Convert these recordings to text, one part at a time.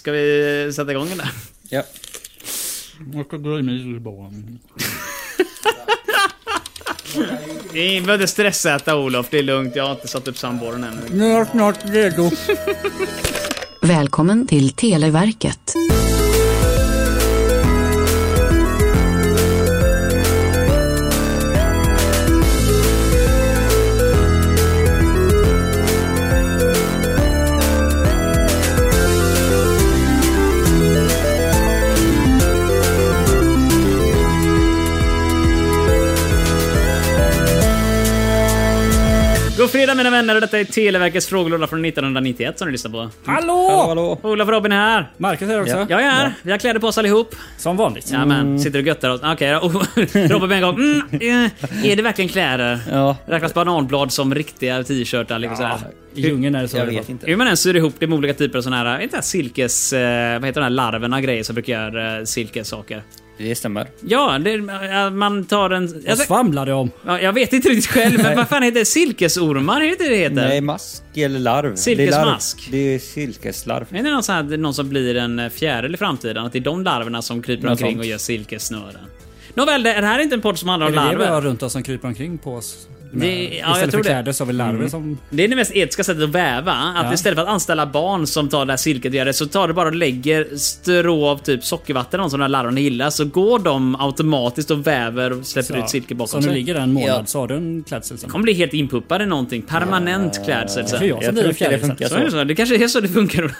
Ska vi sätta igång eller? Ja. Jag ska dra i mig julbanan. Vi behöver stressäta Olof, det är lugnt. Jag har inte satt upp sandborren ännu. Nu är jag snart redo. Välkommen till Televerket. God fredag mina vänner, detta är Televerkets frågelåda från 1991 som ni lyssnar på. Hallå, Hallå! hallå. Olof och Robin är här. Marcus är också. Ja. Mm. Jag är här. Vi har kläder på oss allihop. Som vanligt. Jajamän. Sitter och göttar oss. Okej, okay, Robin med en gång. Mm, eh, är det verkligen kläder? Ja. Räknas bananblad som riktiga t-shirtar? Liksom sådär. I djungeln är det så. Jag i alla vet fall. inte. Hur man än syr ihop det med olika typer av såna här, inte här silkes... Eh, vad heter de här larverna och grejer som brukar göra eh, silkessaker? Det stämmer. Ja, det, eh, man tar en... Alltså, Vad svamlar du om? Ja, jag vet inte riktigt själv, men vad fan heter det? Silkesormar? Är det inte det det heter? Nej, mask eller larv. Silkesmask. Det är, larv. det är silkeslarv. Är det någon, sån här, någon som blir en eh, fjäril i framtiden? Att det är de larverna som kryper Något omkring sånt. och gör silkessnören? Nåväl, det det här är inte en podd som handlar Är om det det vi har larver. runt oss som kryper omkring på oss? Det- ja, istället jag tror för det. Mm. kläder så har vi larver som... Det är det mest etiska sättet att väva. Att Ja. istället för att anställa barn som tar det här silket och gör det, så tar du bara och lägger strå av typ sockervatten eller något som de här larverna gillar, så går de automatiskt och väver och släpper ut silke Så bakom nu sig. ligger den månad Ja. så har du en klädsel sen. kommer bli helt inpuppad i någonting. Permanent klädsel sen. För jag Jag som blir tror inte en det fjäril sen. funkar Så är det, så. så. det kanske är så det funkar.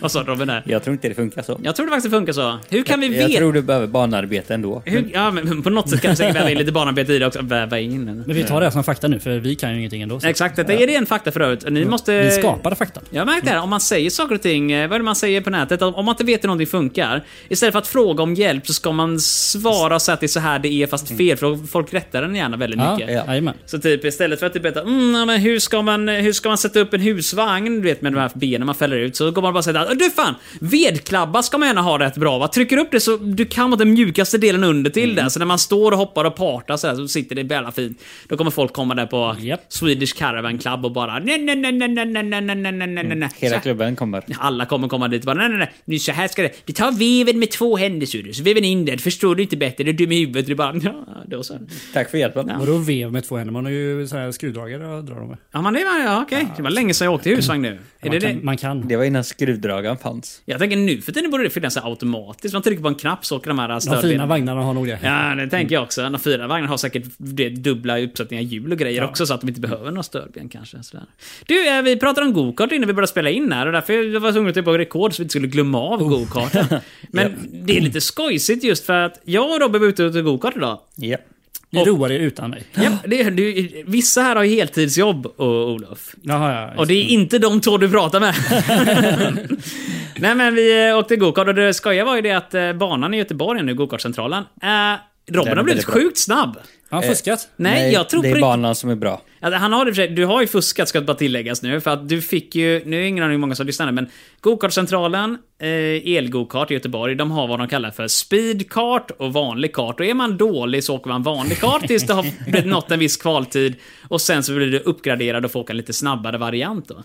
Vad sa Robin där? Jag tror inte det funkar så. Jag tror det faktiskt funkar så. Hur kan vi Jag veta? tror du behöver barnarbete ändå. Hur, ja, men på något sätt kan vi säkert väva in lite barnarbete i det också. Väva in. eller? Men vi tar det som fakta nu för vi kan ju ingenting ändå. Så. Exakt, detta är ren fakta för övrigt. Ni måste... Vi skapade fakta. Jag har märkt det här, om man säger saker och ting, eh, vad är det man säger på nätet? Om om man inte vet hur någonting funkar, istället för att fråga om hjälp så ska man svara och säga att det är så här det är fast fel, för då- folk rättar den gärna väldigt Ja, mycket. Ja. jajamän. Så typ istället för att typ veta, mm, ja, men hur, ska man, hur ska man sätta upp en husvagn, du vet med de här benen man fäller ut, så går man bara och säger att du fan, vedklabba ska man gärna ha rätt bra va? Trycker upp det så du kan mot den mjukaste delen under till Mm. där, så när man står och hoppar och partar så, där, så sitter det jävla fint. Då kommer folk komma där på Japp. Swedish Caravan Club och bara nej, nej, nej, nej, nej, nej, nej, nej, nej, nej, nej, nej. Så Hela här- klubben kommer. alla kommer komma dit och bara nej, nej, nej, nu så här ska det. Vi tar veven med två händer, ser du. Så veven in den. Förstår du inte bättre? Du är dum i huvudet. Du bara, ja, då så. Tack för hjälpen. Vadå vev med två händer? Man har ju så här skruvdragare att dra dem med. Ja, man, det var, ja, okej. Det var länge sedan jag åkte husvagn nu. Är Man, det kan, det? man kan. Det var innan skruvdragaren fanns. Jag tänker nu för tiden borde det finnas så här automatiskt. Man trycker på en knapp så åker de här De fina stödbenen. vagnarna har nog det. Ja, det tänker jag också. De fyra vagnarna har säkert det, dubbla uppsättningar hjul och grejer också så att de inte behöver några stödben kanske. Sådär. Du, eh, vi pratade om gokart innan vi började spela in här och därför jag var jag tvungen att på rekord så vi inte skulle glömma av Oh. gokarten. Men det är lite skojsigt just för att jag och Robin var ute och åkte gokart idag. Ja. Ni roar er utan mig. Ja, det, är- du, vissa här har ju heltidsjobb, och Olof. Jaha, ja. just Och det är inte de två du pratar med. Nej men vi eh, åkte gokart och det skojiga var ju det att eh, banan i Göteborg nu, gokartcentralen, eh, Robin Den har är blivit väldigt bra. sjukt snabb. Har han fuskat? Nej, jag tror på Det är riktigt- banan som är bra. Alltså, han har det i och för sig, du har ju fuskat ska bara tilläggas nu, för att du fick ju, nu är det ingen aning hur många som lyssnar men Gokartcentralen, eh, Elgokart i Göteborg, de har vad de kallar för speedkart och vanlig kart. Och är man dålig så åker man vanlig kart tills det har blivit nått en viss kvaltid. Och sen så blir du uppgraderad och får åka en lite snabbare variant då.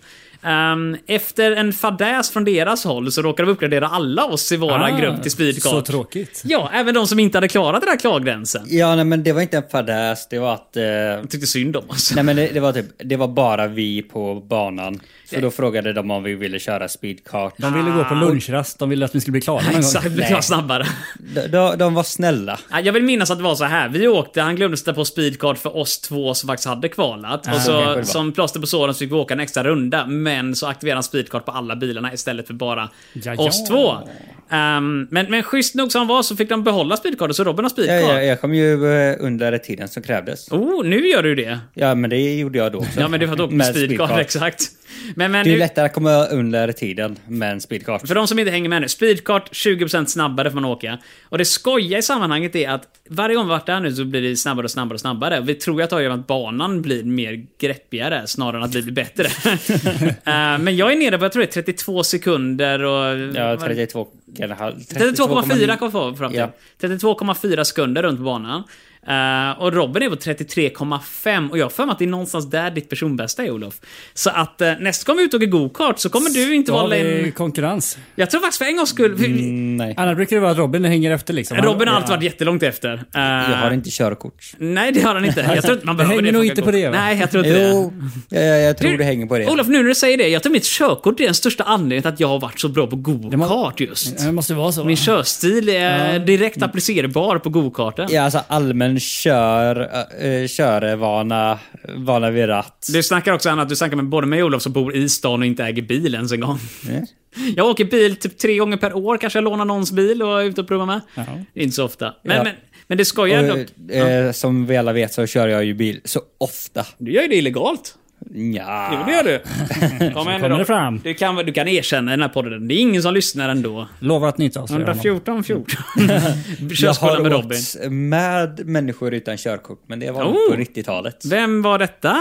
Ehm, efter en fadäs från deras håll så råkar de uppgradera alla oss i våran Ah, grupp till speedkart. Så tråkigt. Ja, även de som inte hade klarat den här klargränsen. Ja, nej, men det var inte en fadäs. Det var att... Eh, Jag tyckte synd om oss. Nej men det, det var typ, det var bara vi på banan. Så då frågade de om vi ville köra speedcart. De ville gå på lunchrast, de ville att vi skulle bli klara någon Ah. Exakt, gång. vi klarar snabbare. De, de, de var snälla. Ja, Jag vill minnas att det var så här. Vi åkte, han glömde sätta på speedcard för oss två som faktiskt hade kvalat. och så kanske det så, var. som plåster på såren så fick vi åka en extra runda. Men så aktiverade han speedcard på alla bilarna istället för bara Ja, ja. oss två. Ehm, men, men schysst nog som han var så fick de behålla speedcarden, så Robin har Ja, speedcard. ja, jag kom ju eh, under tiden som krävdes. Oh, nu gör du det. Ja men det gjorde jag då också. Ja, men det var då Med speedcard, speedcard, exakt. Men, men, Det är ju nu- lättare att komma under tiden med en speedcard. För de som inte hänger med nu, speedkart 20% snabbare får man åka. Och det skojiga i sammanhanget är att varje gång vi varit där nu så blir det snabbare och snabbare och snabbare. Vi tror ju att det har att göra med att banan blir mer greppigare snarare än att vi blir bättre. Eh, men jag är nere på, jag tror det är 32 sekunder och... Ja, 32,5. 32,4 kom jag fram till. Ja. 32,4 sekunder runt på banan. Eh, och Robin är på 33,5 och jag har för mig att det är någonstans där ditt personbästa är Olof. Så att eh, nästa gång vi ut och åker go-kart så kommer du inte Då har vara vi en... konkurrens. Jag tror faktiskt för en gångs skull... för- Mm, nej. Annars brukar det vara att Robin hänger efter liksom. Han- Robin har alltid Ja. varit jättelångt efter. Eh, Jag har inte körkort. Nej, det har han inte. Jag tror inte man Det behöver hänger det för nog att inte gå. på det, va? Nej, jag tror inte det. Jo, jag, jag tror det hänger på det. Olof, nu när du säger det. Jag tror mitt körkort är den största anledningen till att jag har varit så bra på go-kart just. Ja, Det måste vara så. Min körstil är Ja. direkt applicerbar på go-karten. Ja, alltså allmän kör, äh, körvana, vana vid ratt. Du snackar också annat. Du snackar med både mig och Olof som bor i stan och inte äger bil ens en gång. Mm. Jag åker bil typ tre gånger per år. Kanske jag lånar någons bil och är ute och provar med. Det är Inte så ofta. Men, Ja. men, men det skojar ändå. Och, eh, som vi alla vet så kör jag ju bil så ofta. Du gör ju det illegalt. Nja. Jo, det gör du. Kom igen nu kommer då. det fram. Du kan, du kan erkänna i den här podden. Det är ingen som lyssnar ändå. Lovar att ni inte avslöjar honom. 114 14. Jag Körskola med har Robin. åkt med människor utan körkort, men det var Oh. på 90-talet. Vem var detta?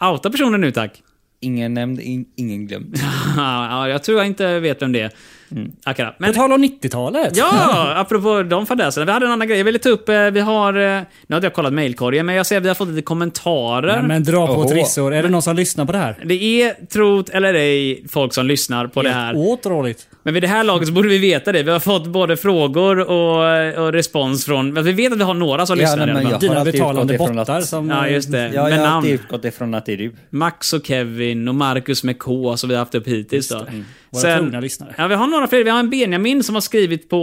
Outa personen nu tack. Ingen nämnd, in, ingen glömd. ja, jag tror jag inte vet vem det är. Mm. Akara. Men På tal om 90-talet. Ja, apropå de fadäserna. Vi hade en annan grej. Jag ville ta upp, eh, vi har... eh, Nu har jag kollat mejlkorgen, men jag ser att vi har fått lite kommentarer. Nej, men dra på Oho. trissor. Är det någon som lyssnar på det här? Det är, trot eller ej, folk som lyssnar på det här. Otroligt. Men vid det här laget så borde vi veta det. Vi har fått både frågor och, och respons från... Men vi vet att vi har några som Ja, lyssnar nej, i alla men fall. Jag har Dina alltid betalande utgått ifrån bottar att- som... Ja, just det. Jag har med alltid namn. utgått ifrån att det är du. Max och Kevin och Marcus med K som vi har haft upp hittills. Då. Mm. Våra trogna lyssnare. Ja, vi har några fler. Vi har en Benjamin som har skrivit på,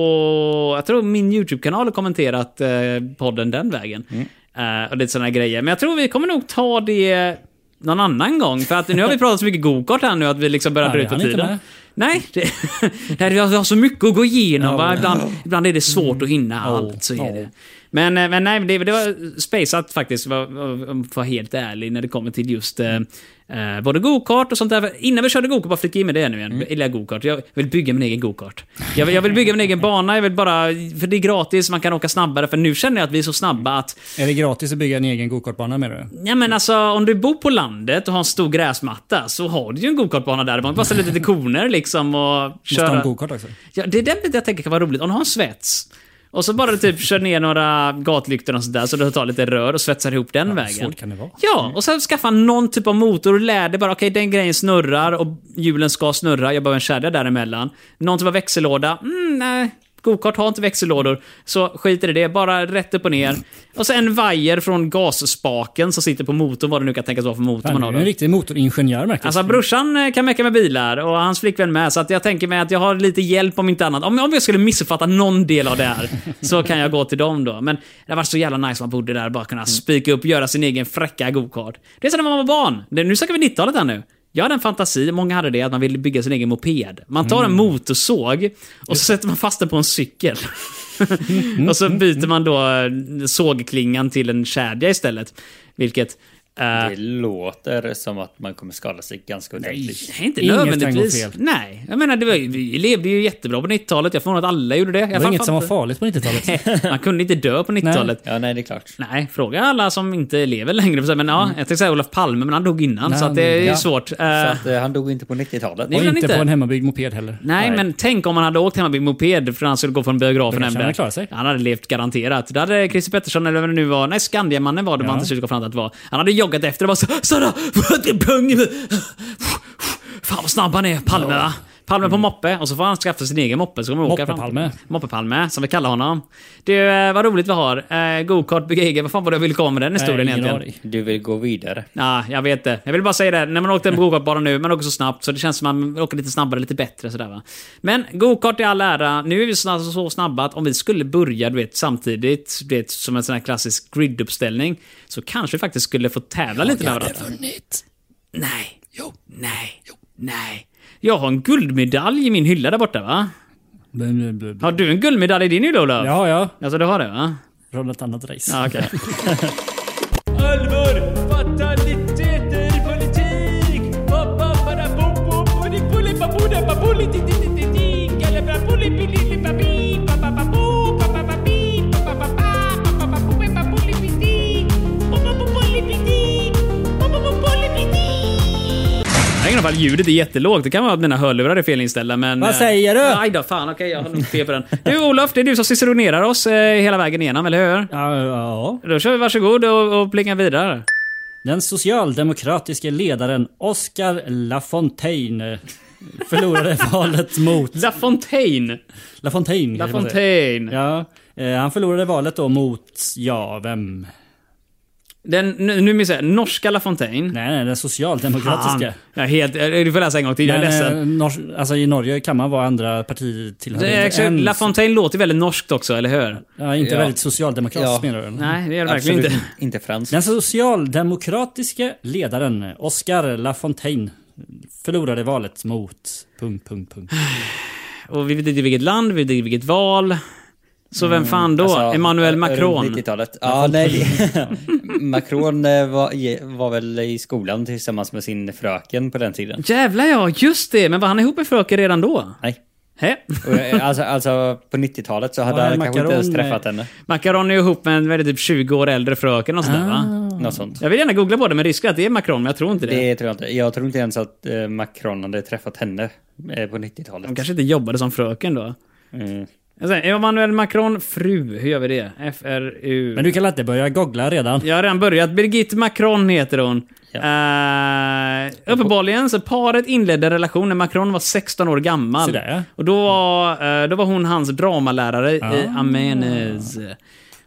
jag tror min YouTube-kanal och kommenterat eh, podden den vägen. Mm. Eh, och lite sådana grejer. Men jag tror vi kommer nog ta det någon annan gång. För att nu har vi pratat så mycket gokart här nu att vi liksom börjar Ja, dra vi ut på hann inte tiden. med. Nej, det, nej, vi har- vi har så mycket att gå igenom. Va? Ibland, ibland är det svårt att hinna allt. Så är det. Men, eh, men nej, det, det var spaceat faktiskt, var- var- om jag får vara helt ärlig, när det kommer till just eh, eh, både gokart och sånt där. Innan vi körde gokart, bara flika in med det nu igen. Mm. Jag gillar gokart. Jag vill bygga min egen gokart. Jag vill, jag vill bygga min egen bana, jag vill bara... För det är gratis, man kan åka snabbare. För nu känner jag att vi är så snabba att... Är det gratis att bygga en egen gokartbana med du? Ja, men alltså, om du bor på landet och har en stor gräsmatta så har du ju en gokartbana där. Man kan bara ställa lite koner liksom och Måste ha en köra. gokart också. Ja, det är den biten jag tänker kan vara roligt. Om du har en svets och så bara typ kör ner några gatlyktor och sådär så du tar lite rör och svetsar ihop den Hur vägen. svårt kan det vara? Mm. Ja, och sen skaffa någon typ av motor och lär dig bara okej den grejen snurrar och hjulen ska snurra, jag behöver en kedja däremellan. Någon typ av växellåda, mm, nej. Gokart har inte växellådor, så skiter i det. Bara rätt upp och ner. Och så en vajer från gasspaken som sitter på motorn, vad det nu kan tänkas vara för motor Fan, man du har. är då. en riktig motoringenjör märkte Alltså brorsan eh, kan mecka med bilar och hans flickvän med. Så att jag tänker mig att jag har lite hjälp om inte annat. Om, om jag skulle missuppfatta någon del av det här så kan jag gå till dem då. Men det var så jävla nice man bodde där och bara kunna spika upp, göra sin egen fräcka gokart. Det är som när man var barn. Det, nu snackar vi 90-talet här nu. Jag hade en fantasi, många hade det, att man ville bygga sin egen moped. Man tar en motorsåg och så sätter man fast den på en cykel. och så byter man då eh, sågklingan till en kedja istället. Vilket... eh, Det låter som att man kommer skada sig ganska ordentligt. Nej, inte Inget nödvändigtvis. kan gå fel. Nej, jag menar, det var, ju- vi levde ju jättebra på 90-talet. Jag förmodar att alla gjorde det. Jag Det var fan- inget som var fan- farligt på 90-talet. Man kunde inte dö på 90-talet. Nej. Ja, nej, det är klart. fråga alla som inte lever längre. för sig, Men ja, jag tänkte säga Olof Palme, men han dog innan. Mm. Nej, så att det är ju ja. svårt. Eh, Så att, eh, han dog inte på 90-talet. Nej. Och vill han inte på inte. en hemmabyggd moped heller. Nej, men tänk om han hade åkt hemma vid moped för han skulle gå från biografen Då hem kanske han hade klarat sig. Han hade levt garanterat. Då hade Christer Pettersson, eller vem det nu var, nej Skandiamannen var det man till slut kom fram till att vara. Han hade joggat efter och bara så Sara! pung! Fan vad snabb han är, Palme va? Palme på moppe och så får han skaffa sin egen moppe så kommer vi åka fram. Mm. Moppe-Palme. Moppe-Palme, som vi kallar honom. Du, eh, vad roligt vi har. Eh, Gokart, bygga egen. Vad fan var det jag ville komma med den historien Eh, ingen egentligen? aning. Du vill gå vidare. Ja, jag vet det. Jag vill bara säga det. När man åkte gokart bara nu, man åker så snabbt så det känns som man åker lite snabbare, lite bättre sådär va. Men gokart i all ära, nu är vi så, så snabba att om vi skulle börja du vet, samtidigt, du vet, som en sån här klassisk griduppställning, så kanske vi faktiskt skulle få tävla lite med varandra. vunnit. Nej. Nej. Nej. Jag har en guldmedalj i min hylla där borta va? Har du en guldmedalj i din hylla Olof? Ja, ja. Alltså du har det va? Från ett annat race. Ja, okej. Allvar, fataliteter, politik! Jag har ingen aning ifall ljudet är jättelågt. Det kan vara att mina hörlurar är felinställda, men... Vad eh, säger du? Nej då, fan okej, jag har nog fel på den. Du Olof, det är du som ciceronerar oss eh, hela vägen igenom, eller hur? Ja, ja. Då kör vi varsågod och, och plinga vidare. Den socialdemokratiske ledaren Oscar Lafontaine förlorade valet mot... La Fontaine. Lafontaine La kanske man säger. Fontaine. Ja, eh, han förlorade valet då mot, ja, vem? Den, nu nu minns jag, norska La Fontaine. Nej, nej, den socialdemokratiska. Ja, helt, eh, du får läsa en gång till, jag är Men, ledsen. eh, Nor- alltså i Norge kan man vara andra partitillhörighet. Det är actually- än- La Fontaine låter väldigt norskt också, eller hur? ja, inte Ja. väldigt socialdemokratisk Ja. menar du? eller? Nej, det gör det verkligen Absolut inte. inte, inte franskt. Den socialdemokratiske ledaren Oscar Lafontaine förlorade valet mot... Punkt, punkt, punkt. Och vi vet inte vilket land, vi vet inte vilket val. Så vem fan då? Alltså, Emmanuel runt Macron? 90-talet. Ja, nej. Macron eh, var, ge- var väl i skolan tillsammans med sin fröken på den tiden. Jävlar ja, just det! Men var han ihop med fröken redan då? Nej. Hä? Och, eh, Alltså, alltså på 90-talet så hade Ja, han kanske inte ens Macron, träffat eh, henne. Macron är ihop med en väldigt typ 20 år äldre fröken och sådär va? Något sånt. Jag vill gärna googla på det, men risken är att det är Macron, men jag tror inte Ah. det. Det tror jag inte. Jag tror inte ens att eh, Macron hade träffat henne eh, på De 90-talet. kanske inte jobbade som fröken då. Mm. Jag säger, Emmanuel Macron fru, hur gör vi det? FRU. Men du kan inte börja googla redan. Jag har redan börjat. Birgitte Macron heter hon. Ja. Eh, uppenbarligen så paret inledde en relation när Macron var 16 år gammal. Så där, ja. Och då var, eh, då var hon hans dramalärare i Ah. Amenes. Hon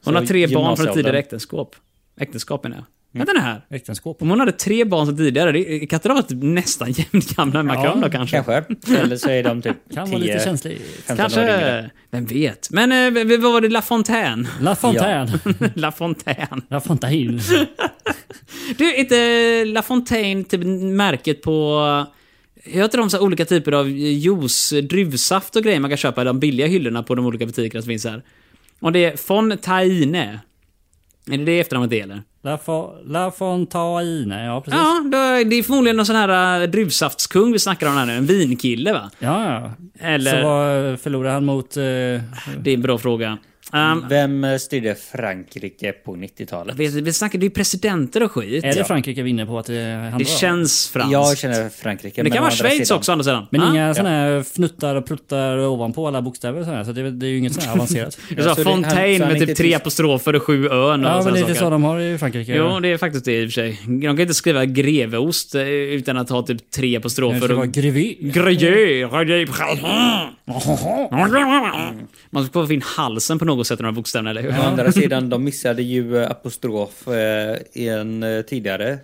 Så har tre barn från gymnasieåldern. tidigare äktenskap. Äktenskap menar jag. Vänta nu här. Äktenskap. Om hon hade tre barn sedan tidigare, det kan inte de vara typ nästan jämnt gamla med Macron då kanske? Kanske. Eller så är de typ Kan vara lite 10, känslig. 15 år yngre. Kanske. Vem vet? Men eh, v- v- vad var det? La Fontaine? Lafontaine. La Fontaine. Lafontaine. Du, är inte La Fontaine typ märket på... Jag heter de så här olika typer av juice, druvsaft och grejer man kan köpa i de billiga hyllorna på de olika butikerna som finns här? Och det är Fontaine. Är det det efternamnet det eller? Lafo- Lafontaine, ja precis. Ja, då, det är förmodligen någon sån här äh, druvsaftskung vi snackar om här nu. En vinkille va? Ja, ja. Eller? Äh, Så vad förlorade han mot... Eh, Mm. Det är en bra fråga. Um, Vem eh, styrde Frankrike på 90-talet? vet, vi snackar, det är ju presidenter och skit. är det Ja. Frankrike vinner på att eh, det handlar Det om? känns franskt. Jag känner Frankrike. Men det men kan å vara andra Schweiz sidan- också å andra sidan. Men Ah. inga såna här fnuttar och pruttar ovanpå alla bokstäver och sådär, så det, är väl- det är ju inget sånt här avancerat. Jag sa så det- han- så Fontaine han med inte typ tre tyst- apostrofer och sju ön och ja, men sådana lite saker. så de har i Frankrike. Jo, det är faktiskt det i och för sig. De kan inte skriva greveost eh, utan att ha typ tre det ska apostrofer. vara Och... grevy. Gruyère, Gruyère. Man ska få in halsen på något sätt, några bokstäver, eller hur? Å andra sidan, de missade ju eh, apostrof eh, i en eh, tidigare eh,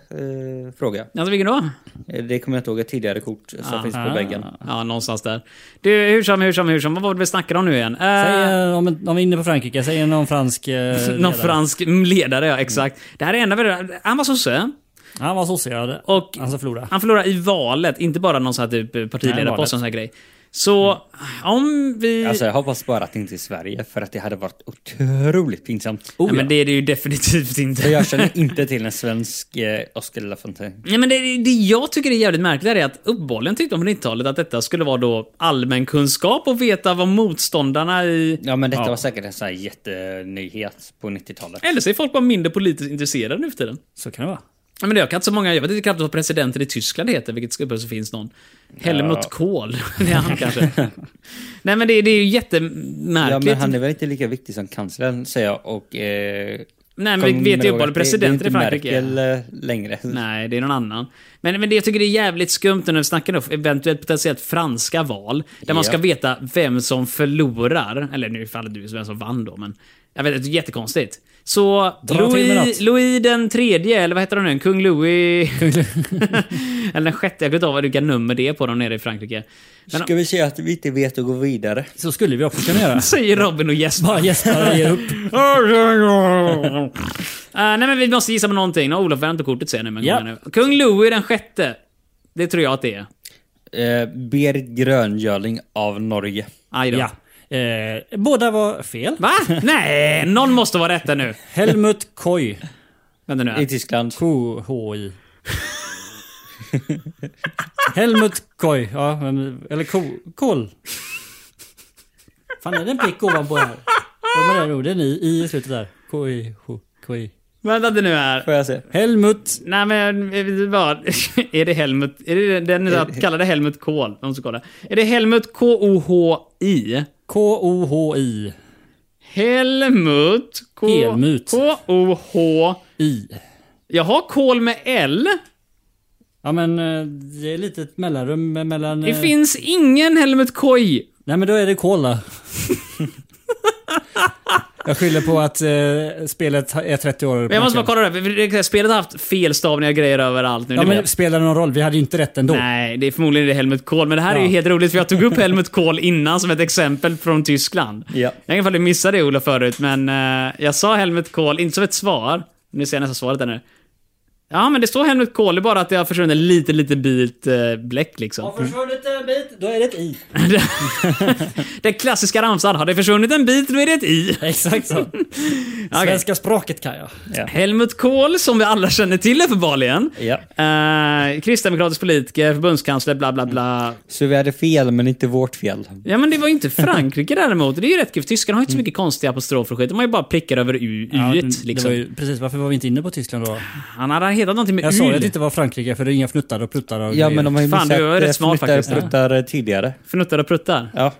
fråga. Alltså vilken då? Eh, Det kommer jag inte ihåg, ett tidigare kort som finns på väggen. Ja, någonstans där. Du, hur som, hur som, hur som. Vad var det vi snackade om nu igen? Eh, Säg, eh, om, om vi är inne på Frankrike, säg någon fransk eh, någon ledare. fransk mm, ledare, ja exakt. Det här är en av era- Han var sosse. Han var sosse, ja. Och- Han ska förlora. Han förlorar i valet, inte bara någon sån här typ partiledarpost och sån här grej. Så om vi... Alltså jag hoppas bara att det inte är Sverige för att det hade varit otroligt pinsamt. Nej, men det är det ju definitivt För inte. jag känner inte till en svensk eh, Oscar Lafontaine. Nej, men det, det jag tycker är jävligt märkligt är att uppehållen tyckte om 90-talet att detta skulle vara då allmän kunskap och veta vad motståndarna i... Ja men detta var säkert en sån här jättenyhet på 90-talet. Eller så är folk bara mindre politiskt intresserade nu för tiden. Så kan det vara. Ja, men det har inte så många, jag vet inte knappt vad presidenten i Tyskland heter, vilket skulle så finns någon. Helmut Kohl, det är han kanske. Nej men det, det är ju Ja jättemärkligt. men han är väl inte lika viktig som kanslern säger jag och... Eh, Nej men kom vi vet ju ihåg uppehållet att det- presidenten i det är Frankrike. inte Merkel eh, längre. Nej, det är någon annan. Men, men det jag tycker det är jävligt skumt när vi snackar om eventuellt potentiellt franska val. Där man Ja. ska veta vem som förlorar. Eller nu faller du vem som vann då, men... Jag vet inte, jättekonstigt. Så till med Louis, något. Louis den tredje, eller vad heter han nu? Kung Louis... eller den sjätte, jag kommer inte ihåg vilka nummer det är på dem nere i Frankrike. Men, Ska vi säga att vi inte vet att gå vidare? Så skulle vi också kunna göra. säger Robin och Jesper. Bara gäspar och ger upp. Eh, nej men vi måste gissa på någonting. Nu har Olof vänt på kortet sen. men kom Ja. igen nu. Kung Louis den sjätte. Det tror jag att det är. Eh, Berit Gröngöling av Norge. Aj då. Ja. Eh, båda var fel. Va? Nej, någon måste vara rätt där nu. Helmut Koi. Vänta nu. I här. Tyskland. K-H-I. Helmut Koi. Ja, men- eller ko- Kol. Fan, är det en prick ovanpå här? Vad var det orden i, i slutet där? Koi, ho, koi. Vänta lite nu här. Får jag se? Helmut. Nej men, eh, det var, är det Helmut? Är det den jag kallade Helmut Kohl? De som kollar. Är det Helmut K-O-H-I? K-O-H-I. Helmut K- Helmut. K-O-H... I. Jaha, Kohl med L? Ja men eh, det är lite ett mellanrum mellan... Det eh, finns ingen Helmut Koj. Nej men då är det Cola. jag skyller på att eh, spelet är 30 år. Men jag måste bara kolla det här, för det. Spelet har haft felstavningar och grejer överallt nu. Ja det men vet. spelar det någon roll? Vi hade ju inte rätt ändå. Nej, det är förmodligen det Helmut Kohl. Men det här är ju Ja. helt roligt för jag tog upp Helmut Kohl innan som ett exempel från Tyskland. Ja. Jag kan missa det Ola förut, men eh, jag sa Helmut Kohl, inte som ett svar. Nu ser jag nästan svaret där nu. Ja, men det står Helmut Kohl, det är bara att det har försvunnit en liten, liten bit eh, bläck liksom. försvunnit en bit, då är det ett I. Den klassiska ramsan, har det försvunnit en bit, då är det ett i. Exakt så. Svenska språket kan jag. Helmut Kohl, som vi alla känner till uppenbarligen. Ja. Eh, kristdemokratisk politiker, förbundskansler, bla bla bla. Så vi hade fel, men inte vårt fel. Ja men det var ju inte Frankrike däremot. Det är ju rätt kul. för Tyskarna har ju inte så mycket konstiga apostrofer och skit. De har ju bara prickar över u Mm. Ja, ja, det- det liksom. var ju, precis, varför var vi inte inne på Tyskland då? Han hade hetat någonting med Jag sa ju att det yl. inte var Frankrike för det är inga fnuttar och pluttar och Ja, men de har ju Fan, missat du var rätt eh, smart fnuttar och faktiskt. pruttar eh, tidigare. Fnuttar och pruttar. Ja,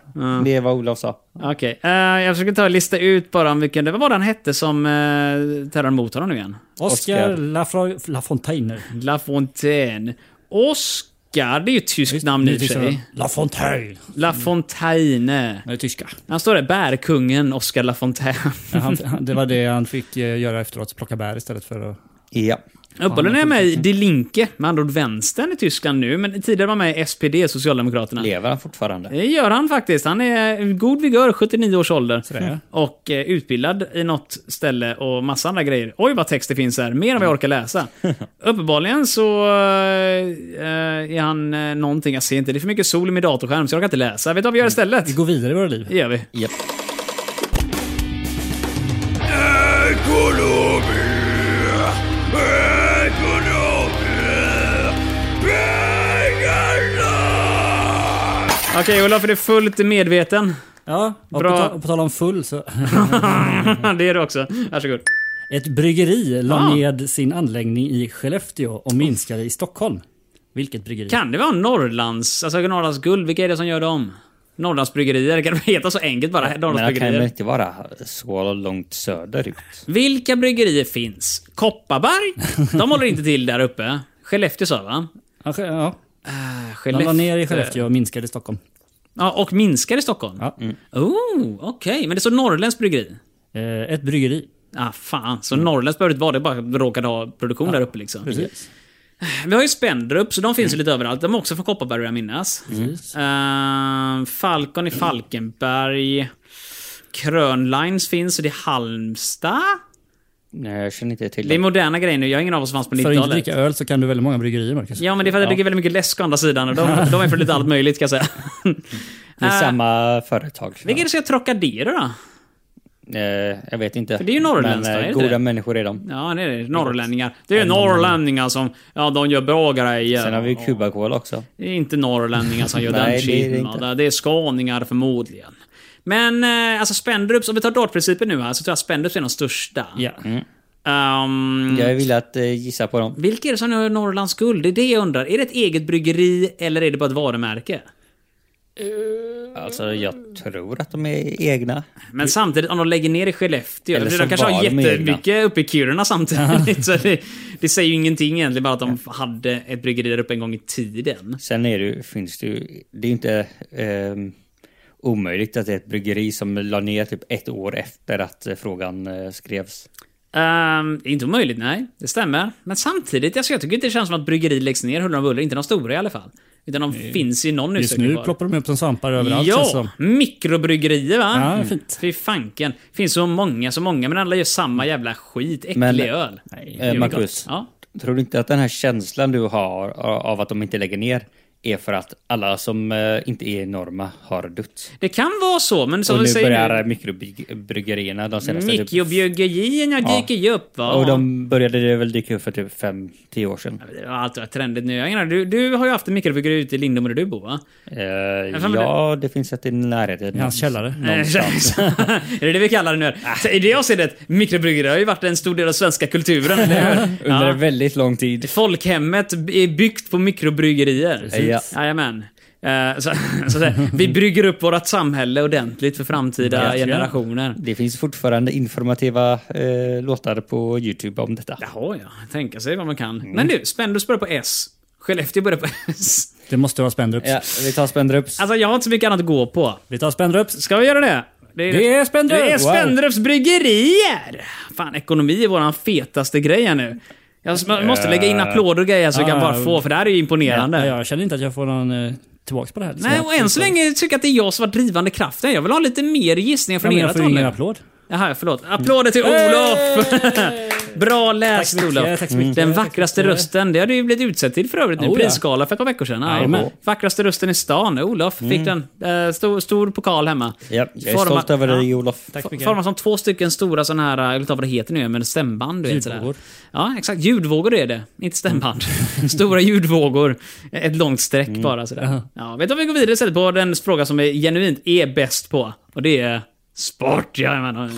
det är vad Olof sa. Okej. Eh, jag försöker ta och lista ut bara om vilken... Vad var det han hette som uh, terrorn mot honom nu igen? Oscar Oscar. Lafra- Lafontaine. Lafontaine. Oscar, det är ju ett tyskt namn i och för sig. Lafontaine. Lafontaine. Det är tyska. Han står där, bärkungen Oscar Lafontaine. Ja, han, han- det var det han fick eh, göra efteråt, plocka bär istället för att... Ja. Uppehållen är med i Die Linke, med andra ord vänstern i Tyskland nu, men tidigare var han med i SPD, Socialdemokraterna. Lever han fortfarande? Det gör han faktiskt. Han är i god vigör, 79 års ålder. ja. Och eh, utbildad i något ställe och massa andra grejer. Oj vad text det finns här, mer än vad jag orkar läsa. Uppenbarligen så eh, är han eh, någonting, jag ser inte, det är för mycket sol i min datorskärm så jag orkar inte läsa. Vet du vad vi gör istället? Vi går vidare i våra liv. Det gör vi. Japp. Okej Olof, är du fullt medveten? Ja, och Bra. på, tal, och på tal om full så... det är du också. Varsågod. Ett bryggeri la Ah. ned sin anläggning i Skellefteå och minskade i Stockholm. Vilket bryggeri? Kan det vara Norrlands, alltså Norrlands guld? Vilka är det som gör dem? Norrlands bryggerier? Kan det heta så enkelt bara? Men Norrlands han kan väl bryggerier. inte vara så långt söderut? Vilka bryggerier finns? Kopparberg? De håller inte till där uppe. Skellefteå sa jag, va? Ja, ske- ja. Äh, De la Skellefteå. ner i Skellefteå och minskade i Stockholm. Ja, och minskar i Stockholm? Ja. Oh, okej. Men det står Norrländs bryggeri? Eh, Ett bryggeri. Ah, fan. Så Norrländs behöver det inte vara det, bara råkade ha produktion där uppe liksom. Mm. Precis. Mm. Vi har ju Spendrup, så de finns ju lite överallt. De är också från Kopparberg vill jag minnas. Eh, Falcon i Mm. Falkenberg. Krönlines finns och det är Halmstad. Nej, jag känner inte till Det är det. moderna grejer nu. Jag har ingen av oss som fanns på För att inte 90-talet. dricka öl så kan du väldigt många bryggerier Marcus. Ja, men det är för att jag dricker väldigt mycket läsk å andra sidan. Och de, de är för lite allt möjligt kan jag säga. Det Ah. är samma företag. Vilka är det som jag Trocadero då? Eh, jag vet inte. det är ju norrländskt, Men va? Är det eh, inte det? goda människor är de. Ja, det är det. Norrlänningar. Det är ju norrlänningar som... Ja, de gör bra grejer. Sen har vi ju Kubakola också. Det är inte norrlänningar som gör Nej, det den är det skiten. inte. va. Det är skåningar förmodligen. Men eh, alltså Spendrups, om vi tar dartprincipen nu här, så tror jag Spendrups är de största. Ja. Ehm, Jag vill att eh, gissa på dem. Vilka är det som gör Norrlands guld? Det är det jag undrar. Är det ett eget bryggeri eller är det bara ett varumärke? Alltså, jag tror att de är egna. Men samtidigt, om de lägger ner i Skellefteå, Eller eller så de kanske har var de egna. jättemycket uppe i Kiruna samtidigt. så det, det säger ju ingenting egentligen, bara att de hade ett bryggeri där uppe en gång i tiden. Sen är det, ju- finns det ju... Det är ju inte ehm, omöjligt att det är ett bryggeri som la ner typ ett år efter att eh, frågan eh, skrevs. Ehm, det är inte omöjligt, nej. Det stämmer. Men samtidigt, alltså, jag tycker inte det känns som att bryggeri läggs ner huller om buller. Inte de stora i alla fall. Utan de finns i någon Just utsträckning nu kvar. ploppar de upp som svampar överallt känns Ja, som. mikrobryggerier va? Ja, Mm. fint. Fy Mm. fanken. finns så många, så många, men alla gör samma jävla skit. Äcklig Men- öl. Eh, Jo, Marcus. Ja. Tror du inte att den här känslan du har av att de inte lägger ner är för att alla som eh, inte är enorma har dött. Det kan vara så, men som och vi nu säger börjar nu... mikrobryggerierna de senaste... typ- Mikrobiologierna Ja. dyker ju upp va? och de började väl dyka upp för typ 5-10 år sedan. Det har alltid varit trendigt nu. Jag menar, du, du har ju haft en mikrobyggare ute i Lindom där du bor va? Eh, fan, men ja, det finns ett i närheten. I hans källare. Någonstans. är det det vi kallar det nu? Ah. Så I det avseendet, mikrobryggerier har ju varit en stor del av svenska kulturen, eller hur? Under Ja. väldigt lång tid. Folkhemmet är byggt på mikrobryggerier. Ja. Jajamän. Eh, Så, så att säga, vi brygger upp vårt samhälle ordentligt för framtida Verkligen. generationer. Det finns fortfarande informativa eh, låtar på Youtube om detta. Jaha, ja. Tänka sig vad man kan. Mm. Men du, Spendrups börjar på S. Skellefteå börjar på S. Det måste vara Spendrups. Ja, vi tar Spendrups. Alltså, jag har inte så mycket annat att gå på. Vi tar Spendrups. Ska vi göra det? Det är Spendrup! Det är Wow. Spendrups bryggerier! Fan, ekonomi är våran fetaste grej här nu. Jag s- man måste lägga in applåder och grejer så jag kan Ah, bara få, för det här är ju imponerande. Ja, jag känner inte att jag får någon eh, tillbaks på det här. Nej, och än så länge tycker jag att det är jag som var drivande kraften. Jag vill ha lite mer gissningar Ja, från men ert jag får ju håll. ingen nu. applåd. Jaha, förlåt. Applåder till Olof! Bra läst mycket, Olof. tack så mycket. Den Tack så vackraste mycket. rösten, det hade ju blivit utsett till för övrigt nu. Oh, ja. Prisgala för ett par veckor sedan. Ja. oh. Jajamän. Mm. Vackraste rösten i stan, Olof fick den. Eh, stor, stor pokal hemma. Ja, jag är Forma- stolt över dig, Ja. Olof. Tack så mycket. Formas som två stycken stora sådana här, eh, jag vet inte vad det heter nu, men stämband. Du vet, sådär. Ljudvågor. Ja, exakt. Ljudvågor är det, inte stämband. stora ljudvågor. Ett långt streck Mm. bara sådär. Ja, vet du vad vi går vidare istället på den fråga som är genuint är bäst på? Och det är sport. Ja, jag menar.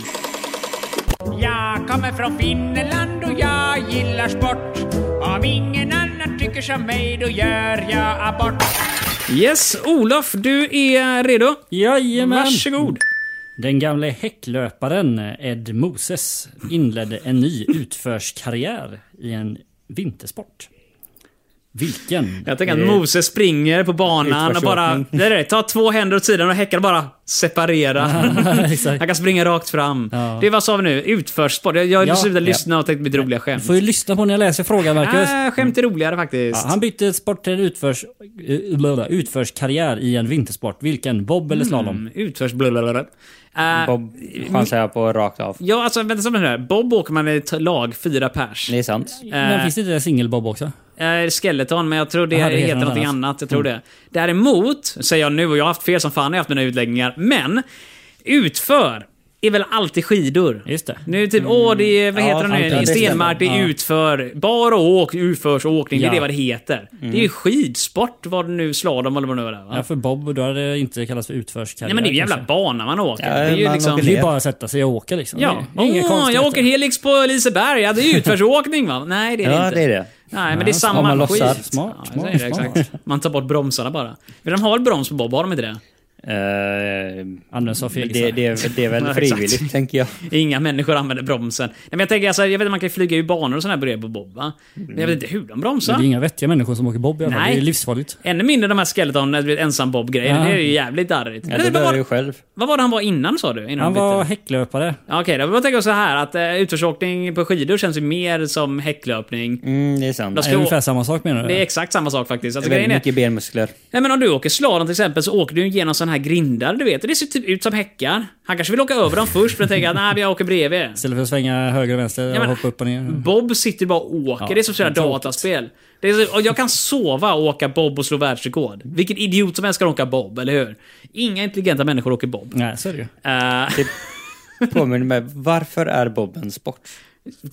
Jag kommer från Finland och jag gillar sport. Om ingen annan tycker som mig, då gör jag abort. Yes, Olof, du är redo? Jajamän! Varsågod. Den gamle häcklöparen eh, Ed Moses inledde en ny utförskarriär i en vintersport. Vilken? Eh, Jag tänker att Moses springer på banan och bara... Nej, utförsåkning. nej, ta två händer åt sidan och häckar och bara separera. Exakt. Han kan springa rakt fram. Ja. Det var sa vi nu? Utförssport. Jag, jag Ja. slutade Ja. lyssna och tänkte mitt roliga skämt. Får ju lyssna på när jag läser frågan Marcus. Ah, skämt är roligare Ja, faktiskt. han bytte sport till en utförs, eh, blablabla, utförskarriär i en vintersport. Vilken? Bob eller slalom? Mm, Utförs... blablabla. Eh, Bob chansar jag på rakt av. Ja, alltså vänta så här. Bob Åkerman är ett lag, fyra pers. Det är sant. Men finns det inte en singelbob också? Eh, Skeleton, men jag tror det, Jaha, det heter heter något någonting annat. Mm. annat. Jag tror det. Däremot, säger jag nu, och jag har haft fel som fan när jag haft mina utläggningar, men utför är väl alltid skidor? Just det. Mm. Nu typ, åh, det är, vad Ja, heter sant, det ja, nu? det Stenmark, det stämmer. är Ja. utför. Bar och åk, utförsåkning, det Ja. Mm. är det vad det heter. Det är ju skidsport, vad det nu, slalom eller vad det nu är. Va? Ja, för Bob, då hade det inte kallats för utförskarriär. Nej men det är ju en jävla kanske. bana man åker. Ja, det är ju man liksom... åker Det är ner. ju bara att sätta sig och åka liksom. Ja. Det är inget Åh, konstigt. jag åker Helix på Liseberg. Ja, det är utförsåkning va? Nej, det är det Ja, inte. det är det. Nej, men det är Ja, samma om man lossar. skit. Smart, ja, smart, jag säger det, smart. Exakt. Man tar bort bromsarna bara. Men de har väl broms på Bob? Har de inte det? Eh, Används av fegisar. det, det, är- det är Ja, väl exakt. frivilligt, tänker jag. Inga människor använder bromsen. Nej, men jag tänker alltså, jag vet att man kan flyga i banor och sådana här bredvid på Bob va? Men jag vet inte hur de Men det är bromsar. inga vettiga människor som åker bob i alla fall. Nej. Det är ju livsfarligt. Ännu mindre de här skeleton ensam Bob-grejerna. Ja. Det är ju jävligt darrigt. Ja, Men det vad, börjar ju var, själv. vad var det han var innan sa du? Innan de Han bytte? var häcklöpare. Ja, Okej, då tänker jag så här att eh, utförsåkning på skidor känns ju mer som häcklöpning. Mm, det är sant. Då ska- Är det ungefär samma sak menar du? Det är exakt samma sak faktiskt. Alltså, Väldigt grejen är, mycket benmuskler. Nej men om du åker slalom till exempel så åker du genom sådana här grindar du vet. Och det ser typ ut som häckar. Han kanske vill åka över dem först men tänker att nej vi åker bredvid. Istället för att svänga höger och vänster men- och hoppa upp och ner. Bob sitter bara och åker. Ja, det är som sådana det är tråkigt. dataspel. Det är så, och jag kan sova och åka Bob och slå världsrekord. Vilken idiot som helst kan åka Bob, eller hur? Inga intelligenta människor åker Bob. Nej, så är det ju. Eh, Påminner mig, varför är Bob en sport?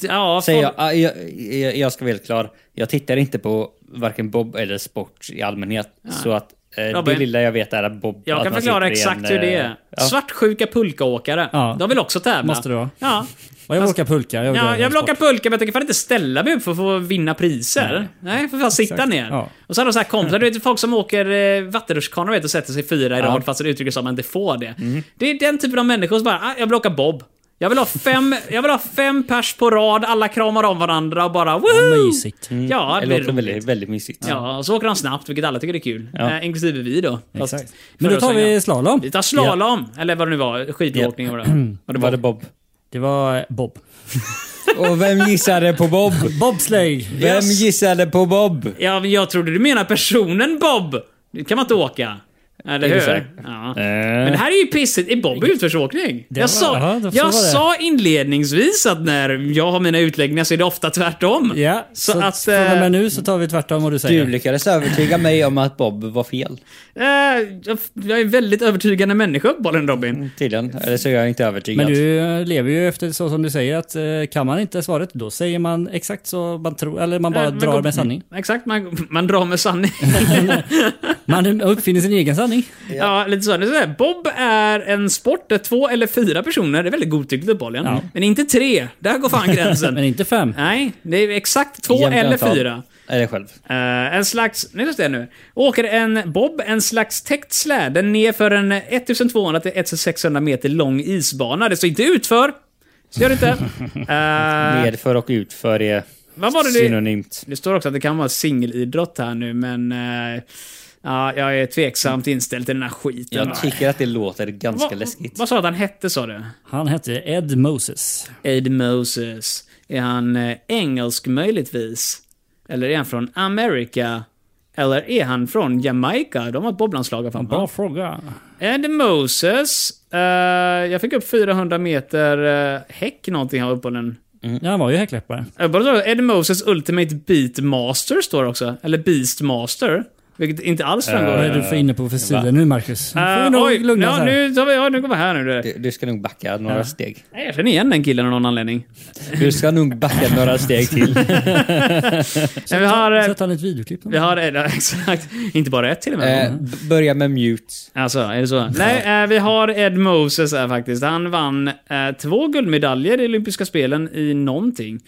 ja, Säger folk- jag, ah, jag, jag, jag ska vara helt klar. Jag tittar inte på varken Bob eller sport i allmänhet. Så att eh, Robin. det lilla jag vet är att Bob... Jag att kan man förklara sitter i en, exakt hur det är. eh, Ja. Svartsjuka pulkaåkare. Ja. De vill också tävla. Måste det vara. Ja. Och jag vill åka pulka. Jag vill, Ja, göra jag vill sport. åka pulka men jag tänker fan inte ställa mig upp för att få vinna priser. Nej, för fan sitta ner. Ja. Och så har de så här kompisar, du vet folk som åker eh, vattenrutschkana vet, och sätter sig fyra i rad fast det uttrycks som att man inte får det. Mm. Det är den typen av människor som bara, ah, jag vill åka bob. Jag vill, ha fem, jag vill ha fem pers på rad, alla kramar om varandra och bara woohoo! mysigt. Ja, Mm. Det det blir låter roligt. väldigt, väldigt mysigt. Ja, och så åker de snabbt, vilket alla tycker är kul. Eh, inklusive vi då. Fast Exakt. Men förra då tar vi svängen. slalom. Vi tar slalom, eller vad det nu var, skidåkning och vad det var. Och det var det Bob. Det var eh, Bob. Och vem gissade på Bob? Bobsleigh! Vem gissade på Bob? Ja, men jag trodde du menar personen Bob! Det kan man inte åka. Eller hur? Exakt. Ja. Eh. Men det här är ju pissigt. Är Bobby utförsåkning? var- Jag, sa, ja, det får vara jag det. sa inledningsvis att när jag har mina utläggningar så är det ofta tvärtom. Ja, Så så, att, att... Från och eh, med nu så tar vi tvärtom vad du säger. Du lyckades övertyga mig om att Bob var fel. Eh, jag, jag är väldigt övertygande människa uppenbarligen Robin. Tydligen. Eller så är jag inte övertygad. Men du eh, lever ju efter så som du säger att eh, kan man inte svaret då säger man exakt så man tror, eller man bara Eh, men drar gå- med sanning. Exakt, man, man drar med sanning. Man uppfinner sin egen sanning. ja. lite så. Det är så här. Bob är en sport där två eller fyra personer, det är väldigt godtyckligt uppenbarligen, Ja. men inte tre. Där går fan gränsen. Men inte fem. Nej, det är exakt två Jämnt eller antal. fyra. Eller själv. Eh, en slags, nej just det nu. Åker en bob, en slags täckt släde ner för en 1200 till 1600 meter lång isbana. Det står inte utför. Så gör det inte. Eh, Nedför och utför är vad var det det? synonymt. Det står också att det kan vara singelidrott här nu, men... eh, ja, jag är tveksamt inställd till den här skiten. Jag tycker att det låter ganska Va- läskigt. Vad sa du att han hette, sa du? Han hette Ed Moses. Ed Moses. Är han eh, engelsk möjligtvis? Eller är han från Amerika? Eller är han från Jamaica? De har ett boblandslag fan. Bra fråga. Ed Moses. eh, jag fick upp 400 meter uh, häck någonting här uppe på den. Ja, han var ju häckläppare. Jag bara tror att Ed Moses Ultimate Beatmaster står det också. Eller Beastmaster. Vilket inte alls framgår. Vad är du för inne på för sida nu Marcus? Nu får Eh, Eh, vi nog oj, lugna oss ja, här. nu, tar vi, ja, nu går vi här nu. Du. Du, du ska nog backa några steg. Nej, Jag känner igen den killen av någon anledning. Du ska nog backa några steg till. Nej, vi har, eh, Sätt han ett videoklipp. vi har, eh, exakt, inte bara ett till och med. Mm. Eh, b- börja med mute. Alltså, är det så? Nej, eh, vi har Ed Moses här faktiskt. Han vann eh, två guldmedaljer i Olympiska spelen i någonting.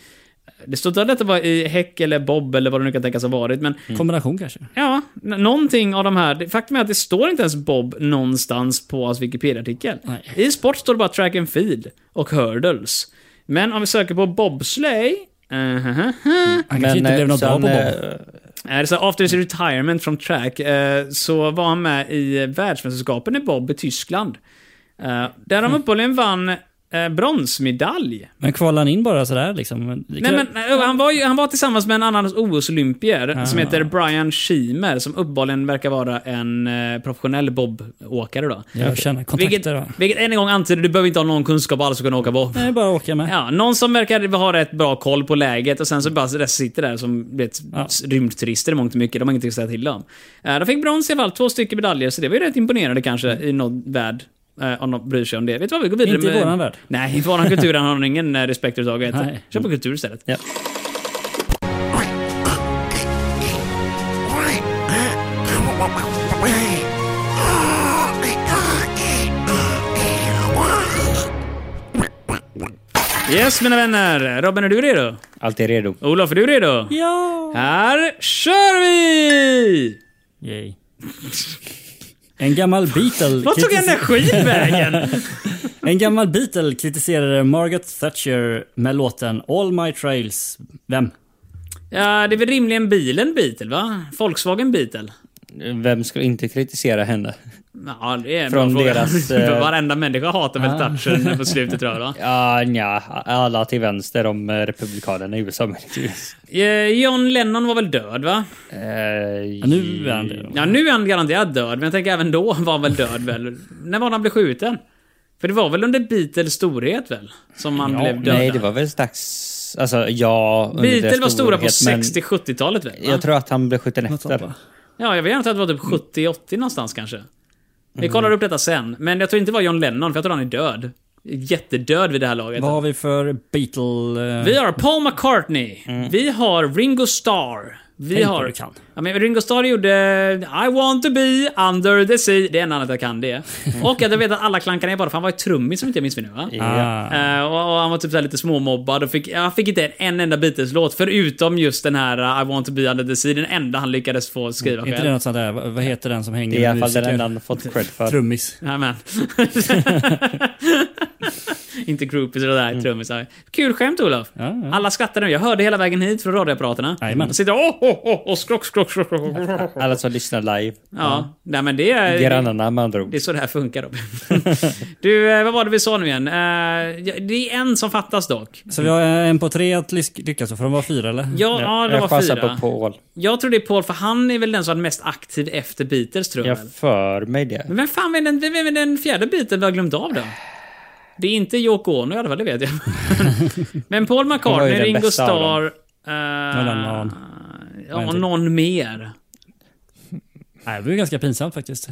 Det står inte att detta var i häck eller bob eller vad det nu kan tänkas ha varit, men Kombination kanske. ja, n- någonting av de här. det- Faktum är att det står inte ens bob någonstans på hans Wikipedia-artikel. Nej. I sport står det bara track and field och hurdles. Men om vi söker på bobsleigh, eh, Han kanske inte eh, blev någon bra sen, på Bob. eh, Är det så här, after his retirement from track eh, så var han med i eh, världsmästerskapen i bob i Tyskland. Eh, där Mm. han uppehållligen vann eh, bronsmedalj. Men kvalade han in bara sådär liksom? Men- Nej, men, eh, han, var ju, han var tillsammans med en annan OS-olympier Ah. som heter Brian Schiemer som uppehållligen verkar vara en eh, professionell bobåkare. Då. Jag känner Vilket, kontakter då. vilket än en gång antyder, du behöver inte ha någon kunskap alls för att kunna åka bob. Nej, bara åka med. Ja, någon som verkar ha rätt bra koll på läget och sen så bara det sitter där som vet, Ja. rymdturister i mångt och mycket. De har ingenting att säga till om. Eh, De fick brons i alla fall, två stycken medaljer, så det var ju rätt imponerande kanske i någon värld. eh, Om någon bryr sig om det. Vet du vad, vi går vidare Mm. Inte i med... våran värld. Nej, i våran kultur har de ingen eh, respekt överhuvudtaget. Nej. Kör på kultur istället. Ja. Yes, mina vänner. Robin, är du redo? Allt är redo. Olof, är du redo? Ja! Här kör vi! Yay. En gammal Beatle... Vad tog kritis- energin vägen? En gammal Beatle kritiserade Margaret Thatcher med låten All My Trails. Vem? Ja, det är väl rimligen bilen Beetle, va? Volkswagen Beetle. Vem skulle inte kritisera henne? Ja, det är en Från bra fråga. deras, eh, Ah. Varenda människa hatar väl touchen på slutet tror jag. va? Ja, nja. Alla till vänster om eh, Republikanerna i USA möjligtvis. Eh, John Lennon var väl död va? Eh, Nu är han det. Ja, nu är han garanterat död, men jag tänker även då var han väl död väl? När var han blev skjuten? För det var väl under Beatles storhet väl? Som han blev död? Nej, där. det var väl strax... Alltså, ja... under Beatles var stora på storhet, men 60-70-talet väl? Va? Jag tror att han blev skjuten sånt, efter. va? Ja, jag vet inte att det var typ 70-80 någonstans kanske. Vi kollar Mm. upp detta sen, men jag tror inte det var John Lennon, för jag tror han är död. Jättedöd vid det här laget. Vad har vi för Beatle... eh, Vi har Paul McCartney. Vi har Ringo Starr. Vi Mm. Tänk vad har... du kan. Ja, men Ringo Starr gjorde I want to be under the sea. Det är en annan att jag kan det. Och att jag vet att alla klankar ner på det, för han var ju trummis om inte jag missminner mig va? Ah. Eh, och, och han var typ så här lite småmobbad och fick, han fick inte en, en enda Beatles-låt förutom just den här eh, I want to be under the sea, den enda han lyckades få skriva Är inte det själv. något sånt där, vad vad heter den som hänger Det är i alla med fall den musiker? enda han fått cred för. Trummis. Jajamän. Inte groupies och det där, trummisar. Kul skämt Olof! Ja, ja. Alla skrattar nu. Jag hörde hela vägen hit från radioapparaterna. Jajamän. De sitter och oh, oh, oh, och skrock, skrock, skrock. skrock. Ja, Alla som lyssnar live. nej men det är... Grannarna med andra ord. Det är så det här funkar Robin. du, eh, vad var det vi sa nu igen? Eh, ja, det är en som fattas dock. Så vi har en på tre att lys- lyckas för de var fyra eller? Ja, ja, det jag var chansar fyra. på Paul. Jag tror det är Paul, för han är väl den som var mest aktiv efter Beatles tror jag. väl. Jag för mig det. Men vem fan är den, vem är den fjärde biten vi har glömt av då? Det är inte Yoko Ono i alla fall, det vet jag. Men Paul Hon var ju McCartney, den Ringo bästa av Starr... dem. Uh, den var hon. ja, en till. någon mer. Nej, det var ju ganska pinsamt faktiskt.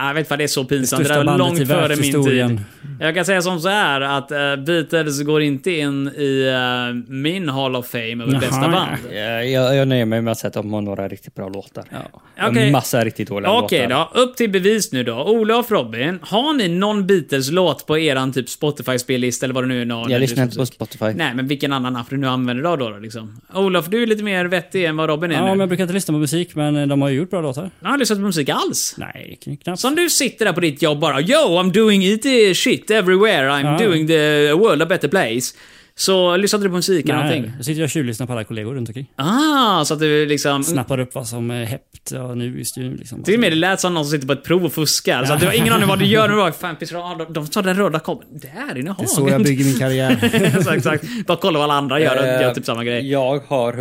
Ja, Jag vet inte vad det är så pinsamt. Det, Största där är bandet i långt före min tid. världshistorien. Jag kan säga som så här att eh, Beatles går inte in i eh, min Hall of Fame över Jaha, bästa band. Jag, Eh, jag, jag nöjer mig med att säga att de har några riktigt bra låtar. Och Okej. Massa riktigt dåliga Okej låtar. då, upp till bevis nu då. Olof, Robin, har ni någon Beatles-låt på eran typ Spotify-spellista eller vad det nu är? någon- Jag lyssnar inte på Spotify. Nej, men vilken annan app du nu använder idag då? då liksom? Olof, du är lite mer vettig än vad Robin är Ja, nu. men jag brukar inte lyssna på musik men eh, de har ju gjort bra låtar. Han har lyssnat på musik alls. Nej, knappt. Som du sitter där på ditt jobb bara Yo, I'm doing it eh, shit everywhere. I'm Ja. doing the world a better place. Så lyssnar du på musik eller någonting? Jag sitter jag och tjuvlyssnar på alla kollegor runt omkring. Ah, så att du liksom... Snappar upp vad som är hett och nu i studion liksom. Till och med det lät som någon som sitter på ett prov och fuskar. Så att du har ingen aning vad du gör. Men du bara, fan, pissar, ah, de, de tar den röda kabeln. Där inne har Det är så jag bygger min karriär. exakt, exakt. De kollar vad alla andra gör och Eh, gör typ samma grej. Jag har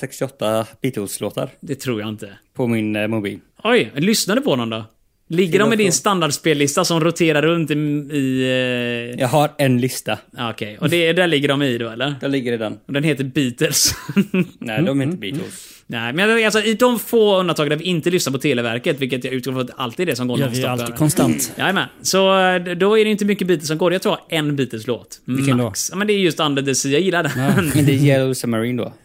168 Beatles-låtar Det tror jag inte. på min eh, mobil. Oj, lyssnar du på någon då? Ligger de i din standardspellista som roterar runt i... i eh, Jag har en lista. ah, Okej, och det, där ligger de i då eller? Där ligger det den. Och Den Mm. heter Beatles. Nej, de är inte Beatles. Nej, men alltså, i de få undantagen där vi inte lyssnar på Televerket, vilket jag utgår från att alltid är det som går Ja, vi är där. Mm. alltid konstant. Jajamän. Så eh, då är det inte mycket Beatles som går. Jag tror jag har en Beatles-låt. Vilken då? Max. Ja, men det är just Under the Sea. Jag gillar den. Men det är Yellow Submarine då.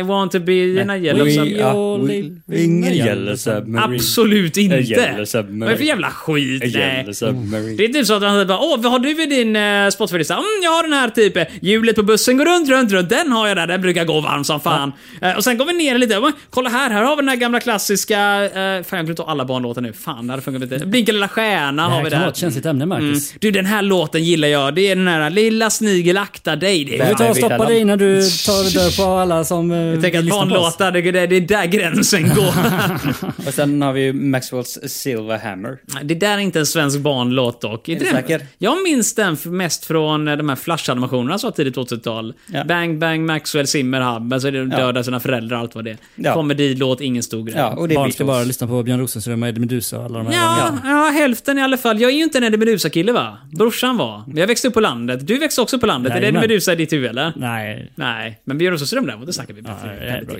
I want to be in a yellow We sub- are living in a yellow submarine. Absolut A inte! yellow Vad är det submarine. för jävla A skit? Nej. yellow submarine. Det är typ så att han säger bara Åh, vad har du i din eh, Spotify-lista? Mm, jag har den här typen. Hjulet på bussen går runt, runt, runt. Den har jag där. Den brukar gå varm som fan. Eh, och sen går vi ner lite. Mm, Kolla här, här har vi den här gamla klassiska... Eh, fan, jag glömde ta alla barnlåtar nu. Fan, det hade funkat lite. Blinka lilla stjärna Det har vi här Mm. kan där. vara ett känsligt ämne Mm. Marcus. Du, den här låten gillar jag. Det är den här Lilla snigel akta dig. Det är Ja, Får Vi tar men och vi stoppar kallar- dig innan du tar och dör på alla som eh, jag tänker att lyssnar på oss. barnlåtar, det, det, det är där gränsen går. Mm. Och sen har vi ju Maxwells Silver Hammer. det där är inte en svensk barnlåt dock. Är du det den- säker? Jag minns den f- mest från eh, de här flashanimationerna som var tidigt 80-tal. Ja. Bang Bang, Maxwell, Zimmer, Hammer, så är det de döda sina föräldrar allt vad det är. Ja. Komedilåt, ingen stor grej. Ja, och det är Barn ska Beatles. bara lyssna på Björn Rosenström och Eddie Meduza och alla de här. Ja, ja, hälften i alla fall. Jag är ju inte en Eddie Meduza-kille va? Brorsan var. Men Jag växte upp på landet. Du växte också på landet. är det Eddie Jajamän. Meduza i ditt huvud eller? Nej. Nej, men Björn Rosenström däremot, det snackar vi bättre. Ja, det är bra.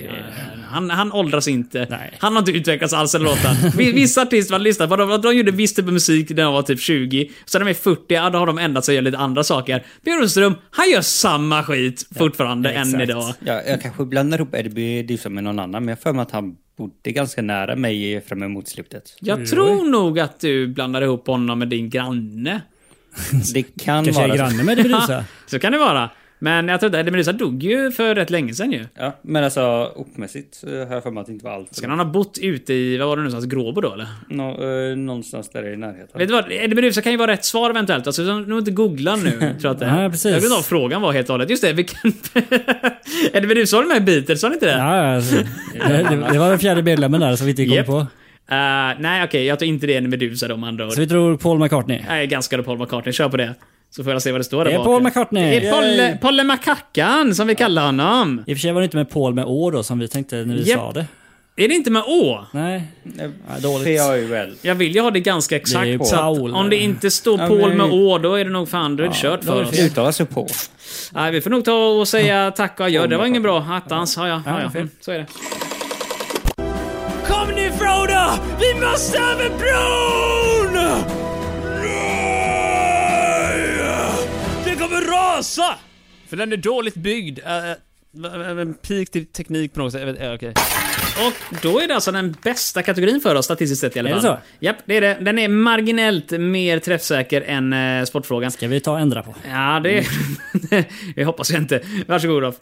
han, han åldras inte. Nej. Han har inte utvecklats alls den låten. Vi- Vissa artister man lyssnar på, de, de gjorde viss typ av musik när de var typ 20. Sen när de är 40, ja, då har de ändrat sig och gör lite andra saker. Björn Rosenström, han gör samma skit fortfarande än exakt. idag. Ja, jag kanske blandar ihop Eddie Meduza med någon annan, men jag har för mig att han bodde ganska nära mig fram emot slutet. Jag tror nog att du blandar ihop honom med din granne. Det kan Kanske vara är så. granne med Eddie Ja, Meduza. så kan det vara. Men jag tror inte, Eddie Meduza dog ju för rätt länge sedan ju. Ja, men alltså ortmässigt eh, har jag för mig att det inte var allt. Ska han ha bott ute i, vad var det nu, någonstans, Gråbo då eller? Nå, eh, någonstans där i närheten. Vet du vad? Eh, Eddie Meduza kan ju vara rätt svar eventuellt. Alltså, jag nog inte googla nu, tror jag att det är. Nej, precis. Jag vet inte vad frågan var helt och hållet. Just det, vilken... Eddie Meduza var med i Beatles, var det inte det? Ja, alltså, det, det- det var den fjärde medlemmen där som vi inte kom Japp. på. Eh, nej, okej, jag tror inte det är Eddie Meduza de andra ord. Så vi tror Paul McCartney. Jag är ganska på Paul McCartney, kör på det. Så får jag se vad det står där Det är bak. Paul McCartney! Det är Polle, Yay. Polle Macackan, som vi kallar honom. I och för sig var det inte med Paul med Å då som vi tänkte när vi Japp. sa det. Är det inte med Å? Nej. Ja, dåligt. PAUL. Jag vill ju ha det ganska exakt. ju så att Paul. om det inte står Ja, Paul men- med Å, då är det nog fan, då är det kört då är för det oss. fel. Uttalas ju på. Nej, vi får nog ta och säga tack och adjö. Det var ingen bra. Attans, ja, ja, ja, det ja. var fel. Mm, Så är det. Kom nu Frodo! Vi måste över bron! Nej! Det kommer rasa! För den är dåligt byggd. Peak till teknik på något sätt. Och då är det alltså den bästa kategorin för oss statistiskt sett i alla Är fall. det så? Japp, det är det. Den är marginellt mer träffsäker än eh, sportfrågan. Ska vi ta och ändra på. Ja, det... Mm. jag hoppas jag inte. Varsågod Rolf.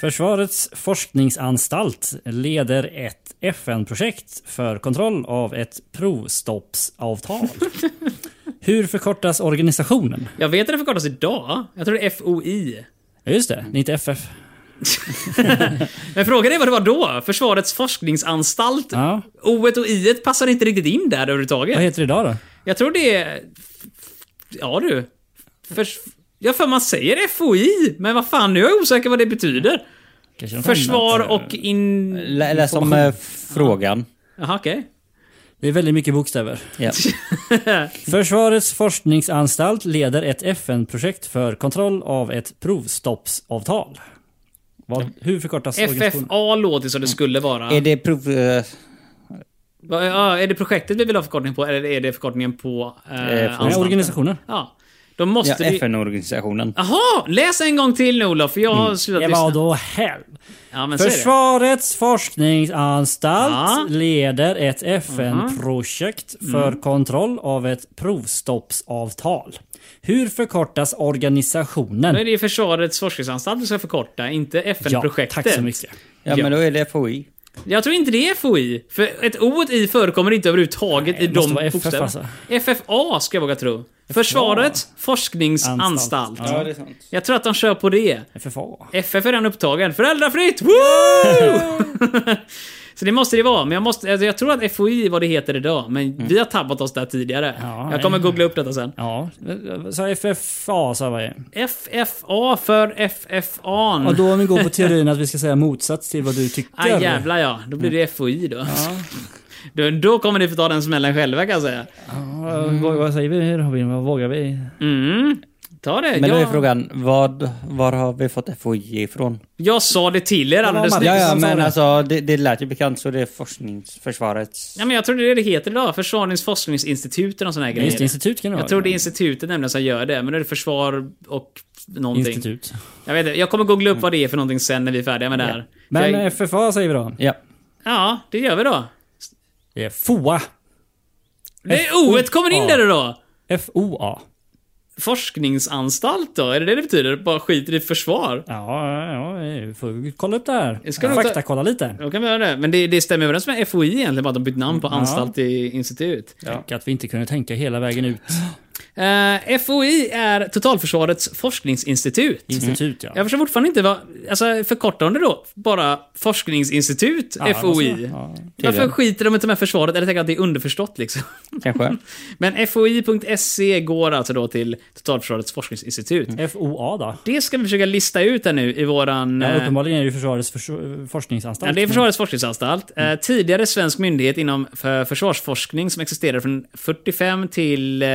Försvarets forskningsanstalt leder ett FN-projekt för kontroll av ett provstoppsavtal. Hur förkortas organisationen? Jag vet att det förkortas idag. Jag tror det är FOI. Ja, just det. Det är inte FF. Men frågan är vad det var då? Försvarets forskningsanstalt? Ja. O-et och I-et passar inte riktigt in där överhuvudtaget. Vad heter det idag då? Jag tror det är... Ja du. Förs... Jag för man säger FOI, men vad fan, nu är jag osäker vad det betyder. Kanske de Försvar ändrat, eh, och in... Lä- Läs om eh, frågan. Jaha, okej. Det är väldigt mycket bokstäver. Ja. Försvarets forskningsanstalt leder ett FN-projekt för kontroll av ett provstoppsavtal. Vad, hur förkortas organisationen? FFA låter som det skulle vara. Är det prov... eh, Va- ja, är det projektet vi vill ha förkortning på, eller är det förkortningen på... Eh, Eh, Nej, anstalten? organisationen. Ja. Då måste Ja, vi... FN-organisationen. Jaha! Läs en gång till nu Olof, för jag har slutat Ja, lyssna. vadå helv? Ja, men så är det. Försvarets forskningsanstalt Ja. Mhm. Mm. leder ett FN-projekt för kontroll av ett provstoppsavtal. Hur förkortas Då är organisationen? det ju Försvarets forskningsanstalt vi ska förkorta, inte FN-projektet. tack så mycket. Ja, men då är det FOI. Jag tror inte det är FOI. För ett O och ett I förekommer inte överhuvudtaget i det måste de vara FF bokstäverna. alltså. FFA ska jag våga tro. Försvarets forskningsanstalt. Anstalt. Ja, det är sant. Jag tror att de kör på det. FFA. FF är redan upptagen. Föräldrafritt! Woo! Så det måste det vara. Men jag, måste, alltså jag tror att FOI är vad det heter idag. Men vi har tabbat oss där tidigare. Mm. Ja, jag kommer nej. googla upp detta sen. Ja, så FFA sa jag. Mm. FFA för FFAn. Och då om vi går på teorin att vi ska säga motsats till vad du tycker. Ah, jävlar ja. Då blir det FOI då. då. Då kommer ni få ta den smällen själva kan jag säga. Ja, vad, vad säger vi Robin? Vad vågar vi? Mm. Ta det. Men då är jag, frågan, vad, var har vi fått FOI ifrån? jag sa det till er alldeles var Ja, nyss. ja, som sa men det. alltså det, det lät ju bekant så det är forskningsförsvarets... Ja, men jag tror det är det det heter idag. Försvarets forskningsinstitut eller sån här Just grej. institut kan det vara. Jag tror det är institutet nämligen som gör det, men då är det försvar och någonting. institut. Jag vet inte, jag kommer Mm. googla upp vad det är för någonting sen när vi är färdiga med det här. Men jag, FFA säger vi då. Ja. ja, det gör vi då. Det är FOA. Det är O-et kommer in där då! FOA. Forskningsanstalt då? Är det det det betyder? Bara skiter i försvar? Ja, ja, ja, vi får kolla upp det här. Ska du ta- Faktakolla lite. Då kan vi göra det. Men det, det stämmer överens med FOI egentligen, bara att de bytt namn på anstalt till institut. Tänk att vi inte kunde tänka hela vägen ut. Eh, FOI är Totalförsvarets forskningsinstitut. Institut ja. Jag förstår fortfarande inte vad... Alltså förkortar de det då bara forskningsinstitut, Ja, FOI? alltså, ja. Varför tydligen. skiter de inte med försvaret? Eller tänker att det är underförstått liksom? Kanske. Men FOI.se går alltså då till Totalförsvarets forskningsinstitut. Mm. FOA då? Det ska vi försöka lista ut här nu i våran... Ja, eh, uppenbarligen är det ju Försvarets förs- forskningsanstalt. Ja, det är Försvarets forskningsanstalt. Mm. Eh, tidigare svensk myndighet inom för försvarsforskning som existerade från 45 till eh,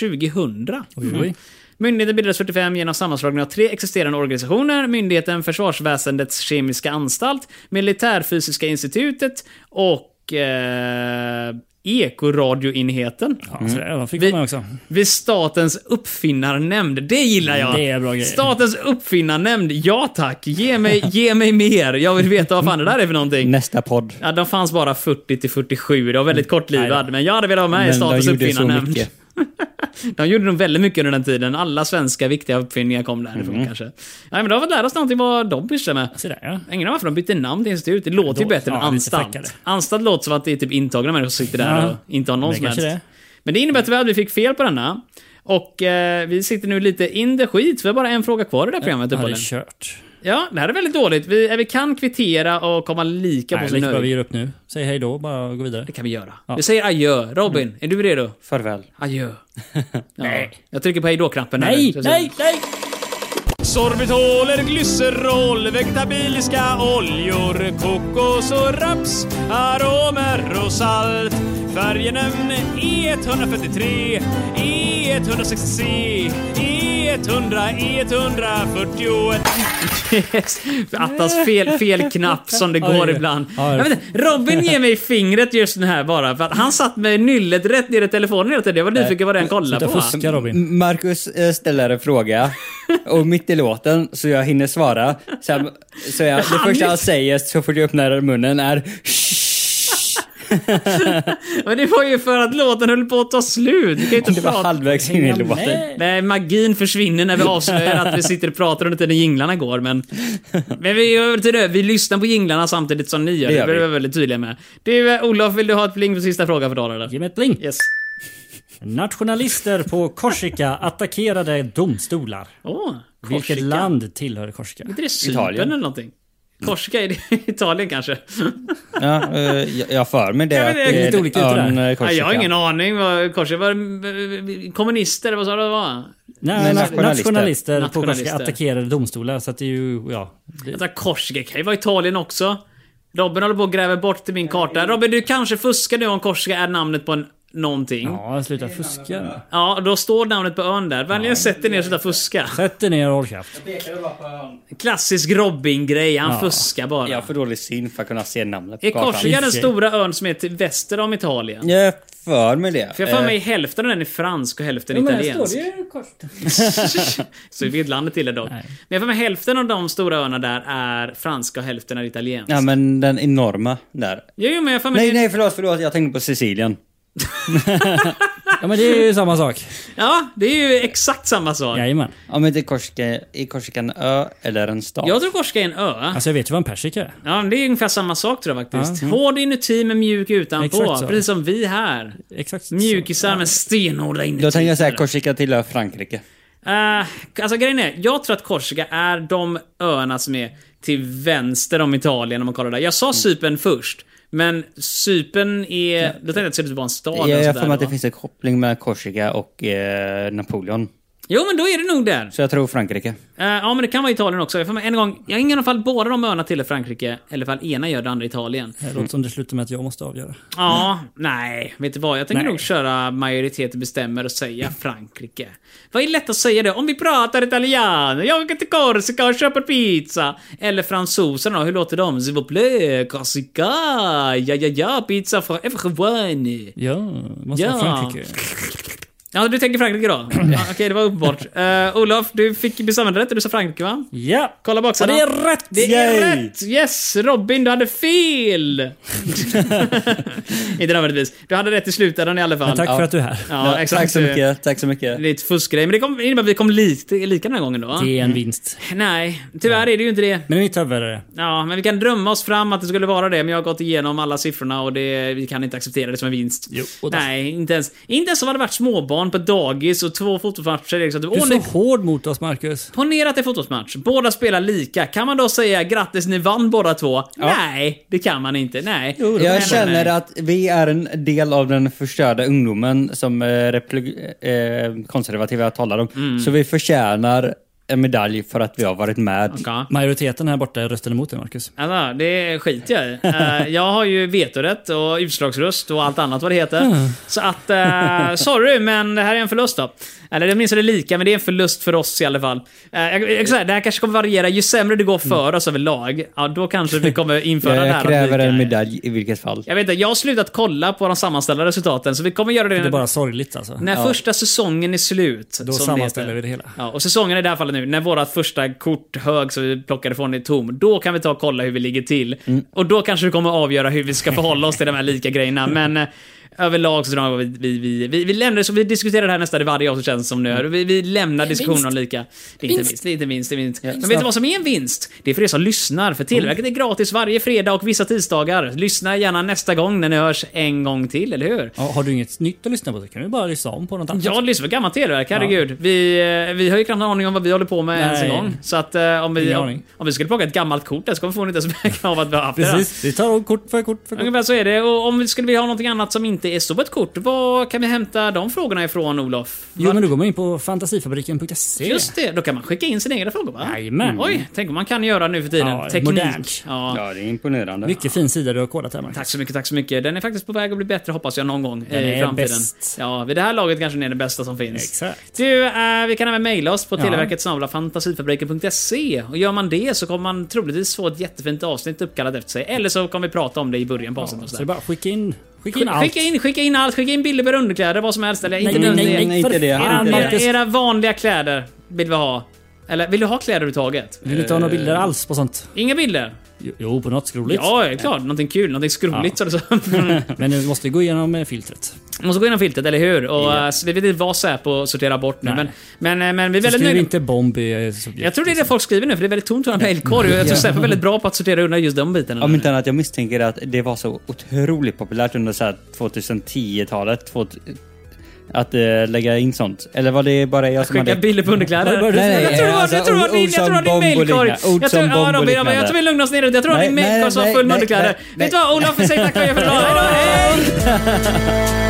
2000. Mm. Oj, oj. Myndigheten bildades 45 genom sammanslagning av tre existerande organisationer. Myndigheten Försvarsväsendets kemiska anstalt, Militärfysiska institutet och eh, Ekoradioenheten. Ja, så där, de fick Mm. Vi- vi med också. Vid Statens uppfinnarnämnd. Det gillar jag! Det är bra grejer. Statens uppfinnarnämnd. Ja tack! Ge mig, ge mig mer. Jag vill veta vad fan det där är för någonting. Nästa podd. Ja, de fanns bara 40 till 47. Det var väldigt Mm. Nej kortlivad. då. Men jag hade velat vara med i Men de Statens gjorde så uppfinnarnämnd. mycket. De gjorde nog väldigt mycket under den tiden. Alla svenska viktiga uppfinningar kom därifrån Mm. kanske. Nej, men då har vi fått lära oss någonting vad de pysslar med. Så där ja. Ingen aning varför de bytte namn till institut. Det låter ju Då- bättre ja, med lite anstalt. fräckare. Anstalt låter som att det är typ intagna människor som sitter där Ja. och inte har någon Det som helst. kanske det. Men det innebär tyvärr att vi fick fel på denna. Och eh, vi sitter nu lite in the skit. Vi har bara en fråga kvar i det här programmet. Ja, det är uppenbarligen. kört. Ja, det här är väldigt dåligt. Vi, eh, vi kan kvittera och komma lika på Nej, sin lika bra vi nöjd. ger upp nu. Säg hej då bara och gå vidare. Det kan vi göra. Vi säger adjö. Robin, Mm. är du redo? Farväl. Adjö. Ja. Jag trycker på hej då-knappen. här nu. Nej, Så- nej, nej! Sorbitoler, glycerol, vegetabiliska oljor, kokos och raps, aromer och salt. E Färgenämn E143, E E160, E E100, E141. Yes. Attas fel, fel knapp som det går Oj. ibland. Ja, det- Jag vet inte, Robin ger mig fingret just den här bara. För att han satt med nyllet rätt ner i telefonen hela tiden. Jag var nyfiken vad den kollade Sluta på. fuska Robin. M- Marcus eh, ställer en fråga och mitt i låten så jag hinner svara. Sen, så jag, det hann första ju- han säger så fort jag öppnar munnen är Men det var ju för att låten höll på att ta slut. Vi kan ju inte Det var prata. halvvägs in i låten. Nej, magin försvinner när vi avslöjar att vi sitter och pratar under tiden jinglarna går, men... Men vi gör till det. Vi lyssnar på jinglarna samtidigt som ni gör. Det Det, gör det är vi. vi väldigt tydliga med. Du, eh, Olof, vill du ha ett pling för sista frågan för dagen? eller? Ge mig ett bling. Yes. Nationalister på Korsika attackerade domstolar. Åh, Korsika. Vilket land tillhör Korsika? Är inte det Cypern Italien. eller någonting? Korsika, är det Italien kanske? Ja, eh, jag- jag har för mig det. Ja, men att det är lite en olika ut örn, där. eh, Nej, jag har Korsika. ingen aning. vad Korsika var eh, kommunister, vad sa du det var? Nej, Nej, na- nationalister, nationalister. på Korsika Nationalister. attackerade domstolar. Så att det är ju, ja. Det, Vänta, Korsika kan ju vara Italien också. Robin håller på och gräver bort till min karta. Robin, du kanske fuskar nu om Korsika är namnet på en någonting. Ja. ja, sluta fuska. då står namnet på ön där. Vänligen sätt dig ner och sluta fuska. Sätt dig ner och håll käft. Klassisk Robin-grej, han Ja. fuskar bara. Jag har för dålig syn för att kunna se namnet på Är Korsika den Okej. stora ön som är till väster om Italien? Jag har för mig det. För jag har för mig Eh, hälften av den är fransk och hälften italiensk. ju kors. Så vi landet till det dock. Men jag har för mig hälften av de stora öarna där är franska och hälften är italiensk. Ja, men den enorma där. Jo, jo, men jag har för mig... Nej, nej, förlåt, förlåt. Jag tänkte på Sicilien. Ja, men det är ju samma sak. Ja, det är ju exakt samma sak. Jajamän. Om inte Korsika, är Korsika en ö eller en stad? Jag tror Korsika är en ö. Alltså jag vet ju vad en persika är. Ja, men det är ungefär samma sak tror jag faktiskt. Hård inuti men mjuk utanpå. Exakt så. Precis som vi här. Exakt. så. Mjukisar men stenhårda inuti. Då tänker jag säga Korsika tillhör Frankrike. Eh, alltså grejen är, jag tror att Korsika är de öarna som är till vänster om Italien om man kollar där. Jag sa Cypern först. Men Cypern är... Då tänkte jag att det skulle typ vara en stad. eller jag har sådär för mig att då. det finns en koppling mellan Korsika och eh, Napoleon. Jo, men då är det nog där. Så jag tror Frankrike. Eh, ja, men det kan vara Italien också. Jag får med en gång... Jag har ingen fall båda de öarna tillhör Frankrike. Eller fall ena gör det andra Italien. Det låter som det slutar med att jag måste avgöra. Ja, nej. Vet du vad? Jag tänker Nej. nog köra majoriteten bestämmer och säga Frankrike. Vad är lätt att säga det? Om vi pratar italiano, jag åker till Korsika och köper pizza. Eller fransoserna, hur låter de? S'il vous plaît, Korsika, ja ja ja, pizza från everyone. Ja, måste Ja. vara Frankrike. Ja, du tänker Frankrike då? ja, Okej, det var uppenbart. Uh, Olof, du fick bestämma rätt och du sa Frankrike va? Ja! Kolla Ja, baksidan. det är rätt! Det är Yay! rätt! Yes! Robin, du hade fel! Inte nödvändigtvis. Du hade rätt i slutändan i alla fall. Men tack Ja. för att du är här. Ja, exakt. Tack så mycket. Tack så mycket. Det är ett fuskgrej, men det kom, innebär att vi kom lite, lika den här gången då va? Det är en vinst. Nej, tyvärr är det ju inte det. Men mitt huvud är det. Ja, men vi kan drömma oss fram att det skulle vara det, men jag har gått igenom alla siffrorna och det, vi kan inte acceptera det som en vinst. Jo, och då- Nej, inte ens. Inte ens om det hade varit småbarn på dagis och två fotbollsmatcher. Liksom. Du Åh, är nej, så hård mot oss, Marcus. Ponera att det är fotbollsmatch. Båda spelar lika. Kan man då säga grattis, ni vann båda två? Nej, det kan man inte. Nej. Jag känner att vi är en del av den förstörda ungdomen som eh, repli- eh, konservativa talar om. Mm. Så vi förtjänar en medalj för att vi har varit med. Okej. Majoriteten här borta röstade emot dig, Marcus. Alltså, det skiter jag i. Eh, jag har ju vetorätt och utslagsröst och allt annat vad det heter. Så att, eh, sorry, men det här är en förlust då. Eller det minns det lika, men det är en förlust för oss i alla fall. Eh, jag, jag, så här, det här kanske kommer variera. Ju sämre det går för oss överlag, ja, då kanske vi kommer införa Jag, det här. att kräver lika en är. medalj i vilket fall. Jag vet inte, jag har slutat kolla på de sammanställda resultaten, så vi kommer göra det, Det är när- bara sorgligt alltså. När första säsongen är slut. Då som det sammanställer heter. vi det hela. Ja, och säsongen i det här fallet nu, när vårat första korthög som vi plockade från är tom, då kan vi ta och kolla hur vi ligger till. Mm. Och då kanske vi kommer att avgöra hur vi ska förhålla oss till de här lika grejerna. Men eh, överlag så drar vi... Vi, vi, vi, vi lämnar det, så vi diskuterar det här nästan i varje avsnitt känns det som Mm. nu. Vi, vi lämnar diskussionen om lika. Det är inte vinst, det är inte vinst, det är vinst. Men vet du vad som är en vinst? Det är för er som lyssnar, för Televerket är Mm. gratis varje fredag och vissa tisdagar. Lyssna gärna nästa gång när ni hörs en gång till, eller hur? Ja, har du inget nytt att lyssna på så kan du bara lyssna om på något annat. Ja, lyssna på gammal televerk, herregud. Vi, eh, vi har ju knappt en aning om vad vi håller på med Nej. ens en gång. Så att eh, om vi, Ingen om, aning. om vi skulle plocka ett gammalt kort där så kommer vi förmodligen inte ens märka av att vi har haft det. Precis. Vi tar om kort för kort där. för kort. Ungefär så är det. Och om vi skulle vilja ha någonting annat som inte är så på ett kort, var kan vi hämta de frågorna ifrån, Olof? Jo, men då går man in på fantasifabriken.se. Just det, då kan man skicka in sina egna frågor va? Jajamän. Oj, tänk om man kan göra nu för tiden. Ja, modernt. Teknik. Ja. Ja, det är imponerande. Mycket fin sida du har kodat här, Marcus. Tack så mycket, tack så mycket. Den är faktiskt på väg att bli bättre hoppas jag någon gång Den eh, i är framtiden. bäst. Ja, vid det här laget kanske den är den bästa som finns. Exakt. Du, eh, vi kan även mejla oss på Ja. televerket snabla fantasifabriken.se och gör man det så kommer man troligtvis få ett jättefint avsnitt uppkallat efter sig. Eller så kommer vi prata om det i början på avsnittet. och Så det är sådär. bara skicka in, skicka in Skick- allt. Skicka in, skicka in allt, skicka in bilder på underkläder, vad som helst. Eller Nej, inte nej, nu, nej, nej, era- inte för det, fan, inte det. Era, Marcus. era vanliga kläder vill vi ha. Eller vill du ha kläder överhuvudtaget? Vill du inte ha några bilder alls på sånt? Inga bilder? Jo, Jo, på något skroligt. Eh. Ja, det är klart. Någonting kul, någonting skroligt så det så. Men du måste gå igenom eh, filtret. Man måste gå igenom filtret, eller hur? Och eh, så vi vet inte vad Säpo sorterar bort nu. Men, Nej. men, eh, men vi är Så väldigt skriv nöjda. inte bomb i eh, subjekt. Jag tror det är det folk skriver nu, för det är väldigt tomt i våra mejlkorg. och Jag tror Säpo är väldigt bra på att sortera undan just de bitarna. Om inte annat, jag misstänker att det var så otroligt populärt under så här 2010-talet. två- Att eh, lägga in sånt. Eller var det bara jag som Skicka hade... bilder på underkläder. Var det bara du som- jag tror det var- alltså, jag tror det var ord- din- ord jag tror det var din som bomb och mailkorg. liknande. Ord Jag tror- som ja, bomb och Robin, Jag bara, jag liknande. tror vi lugnar oss ner. Jag tror det var Nej, din nej, mailkorg som var nej, full med nej, underkläder. nej, nej. Vet du vad? Olof, säg tack för att jag förklarade. Hej!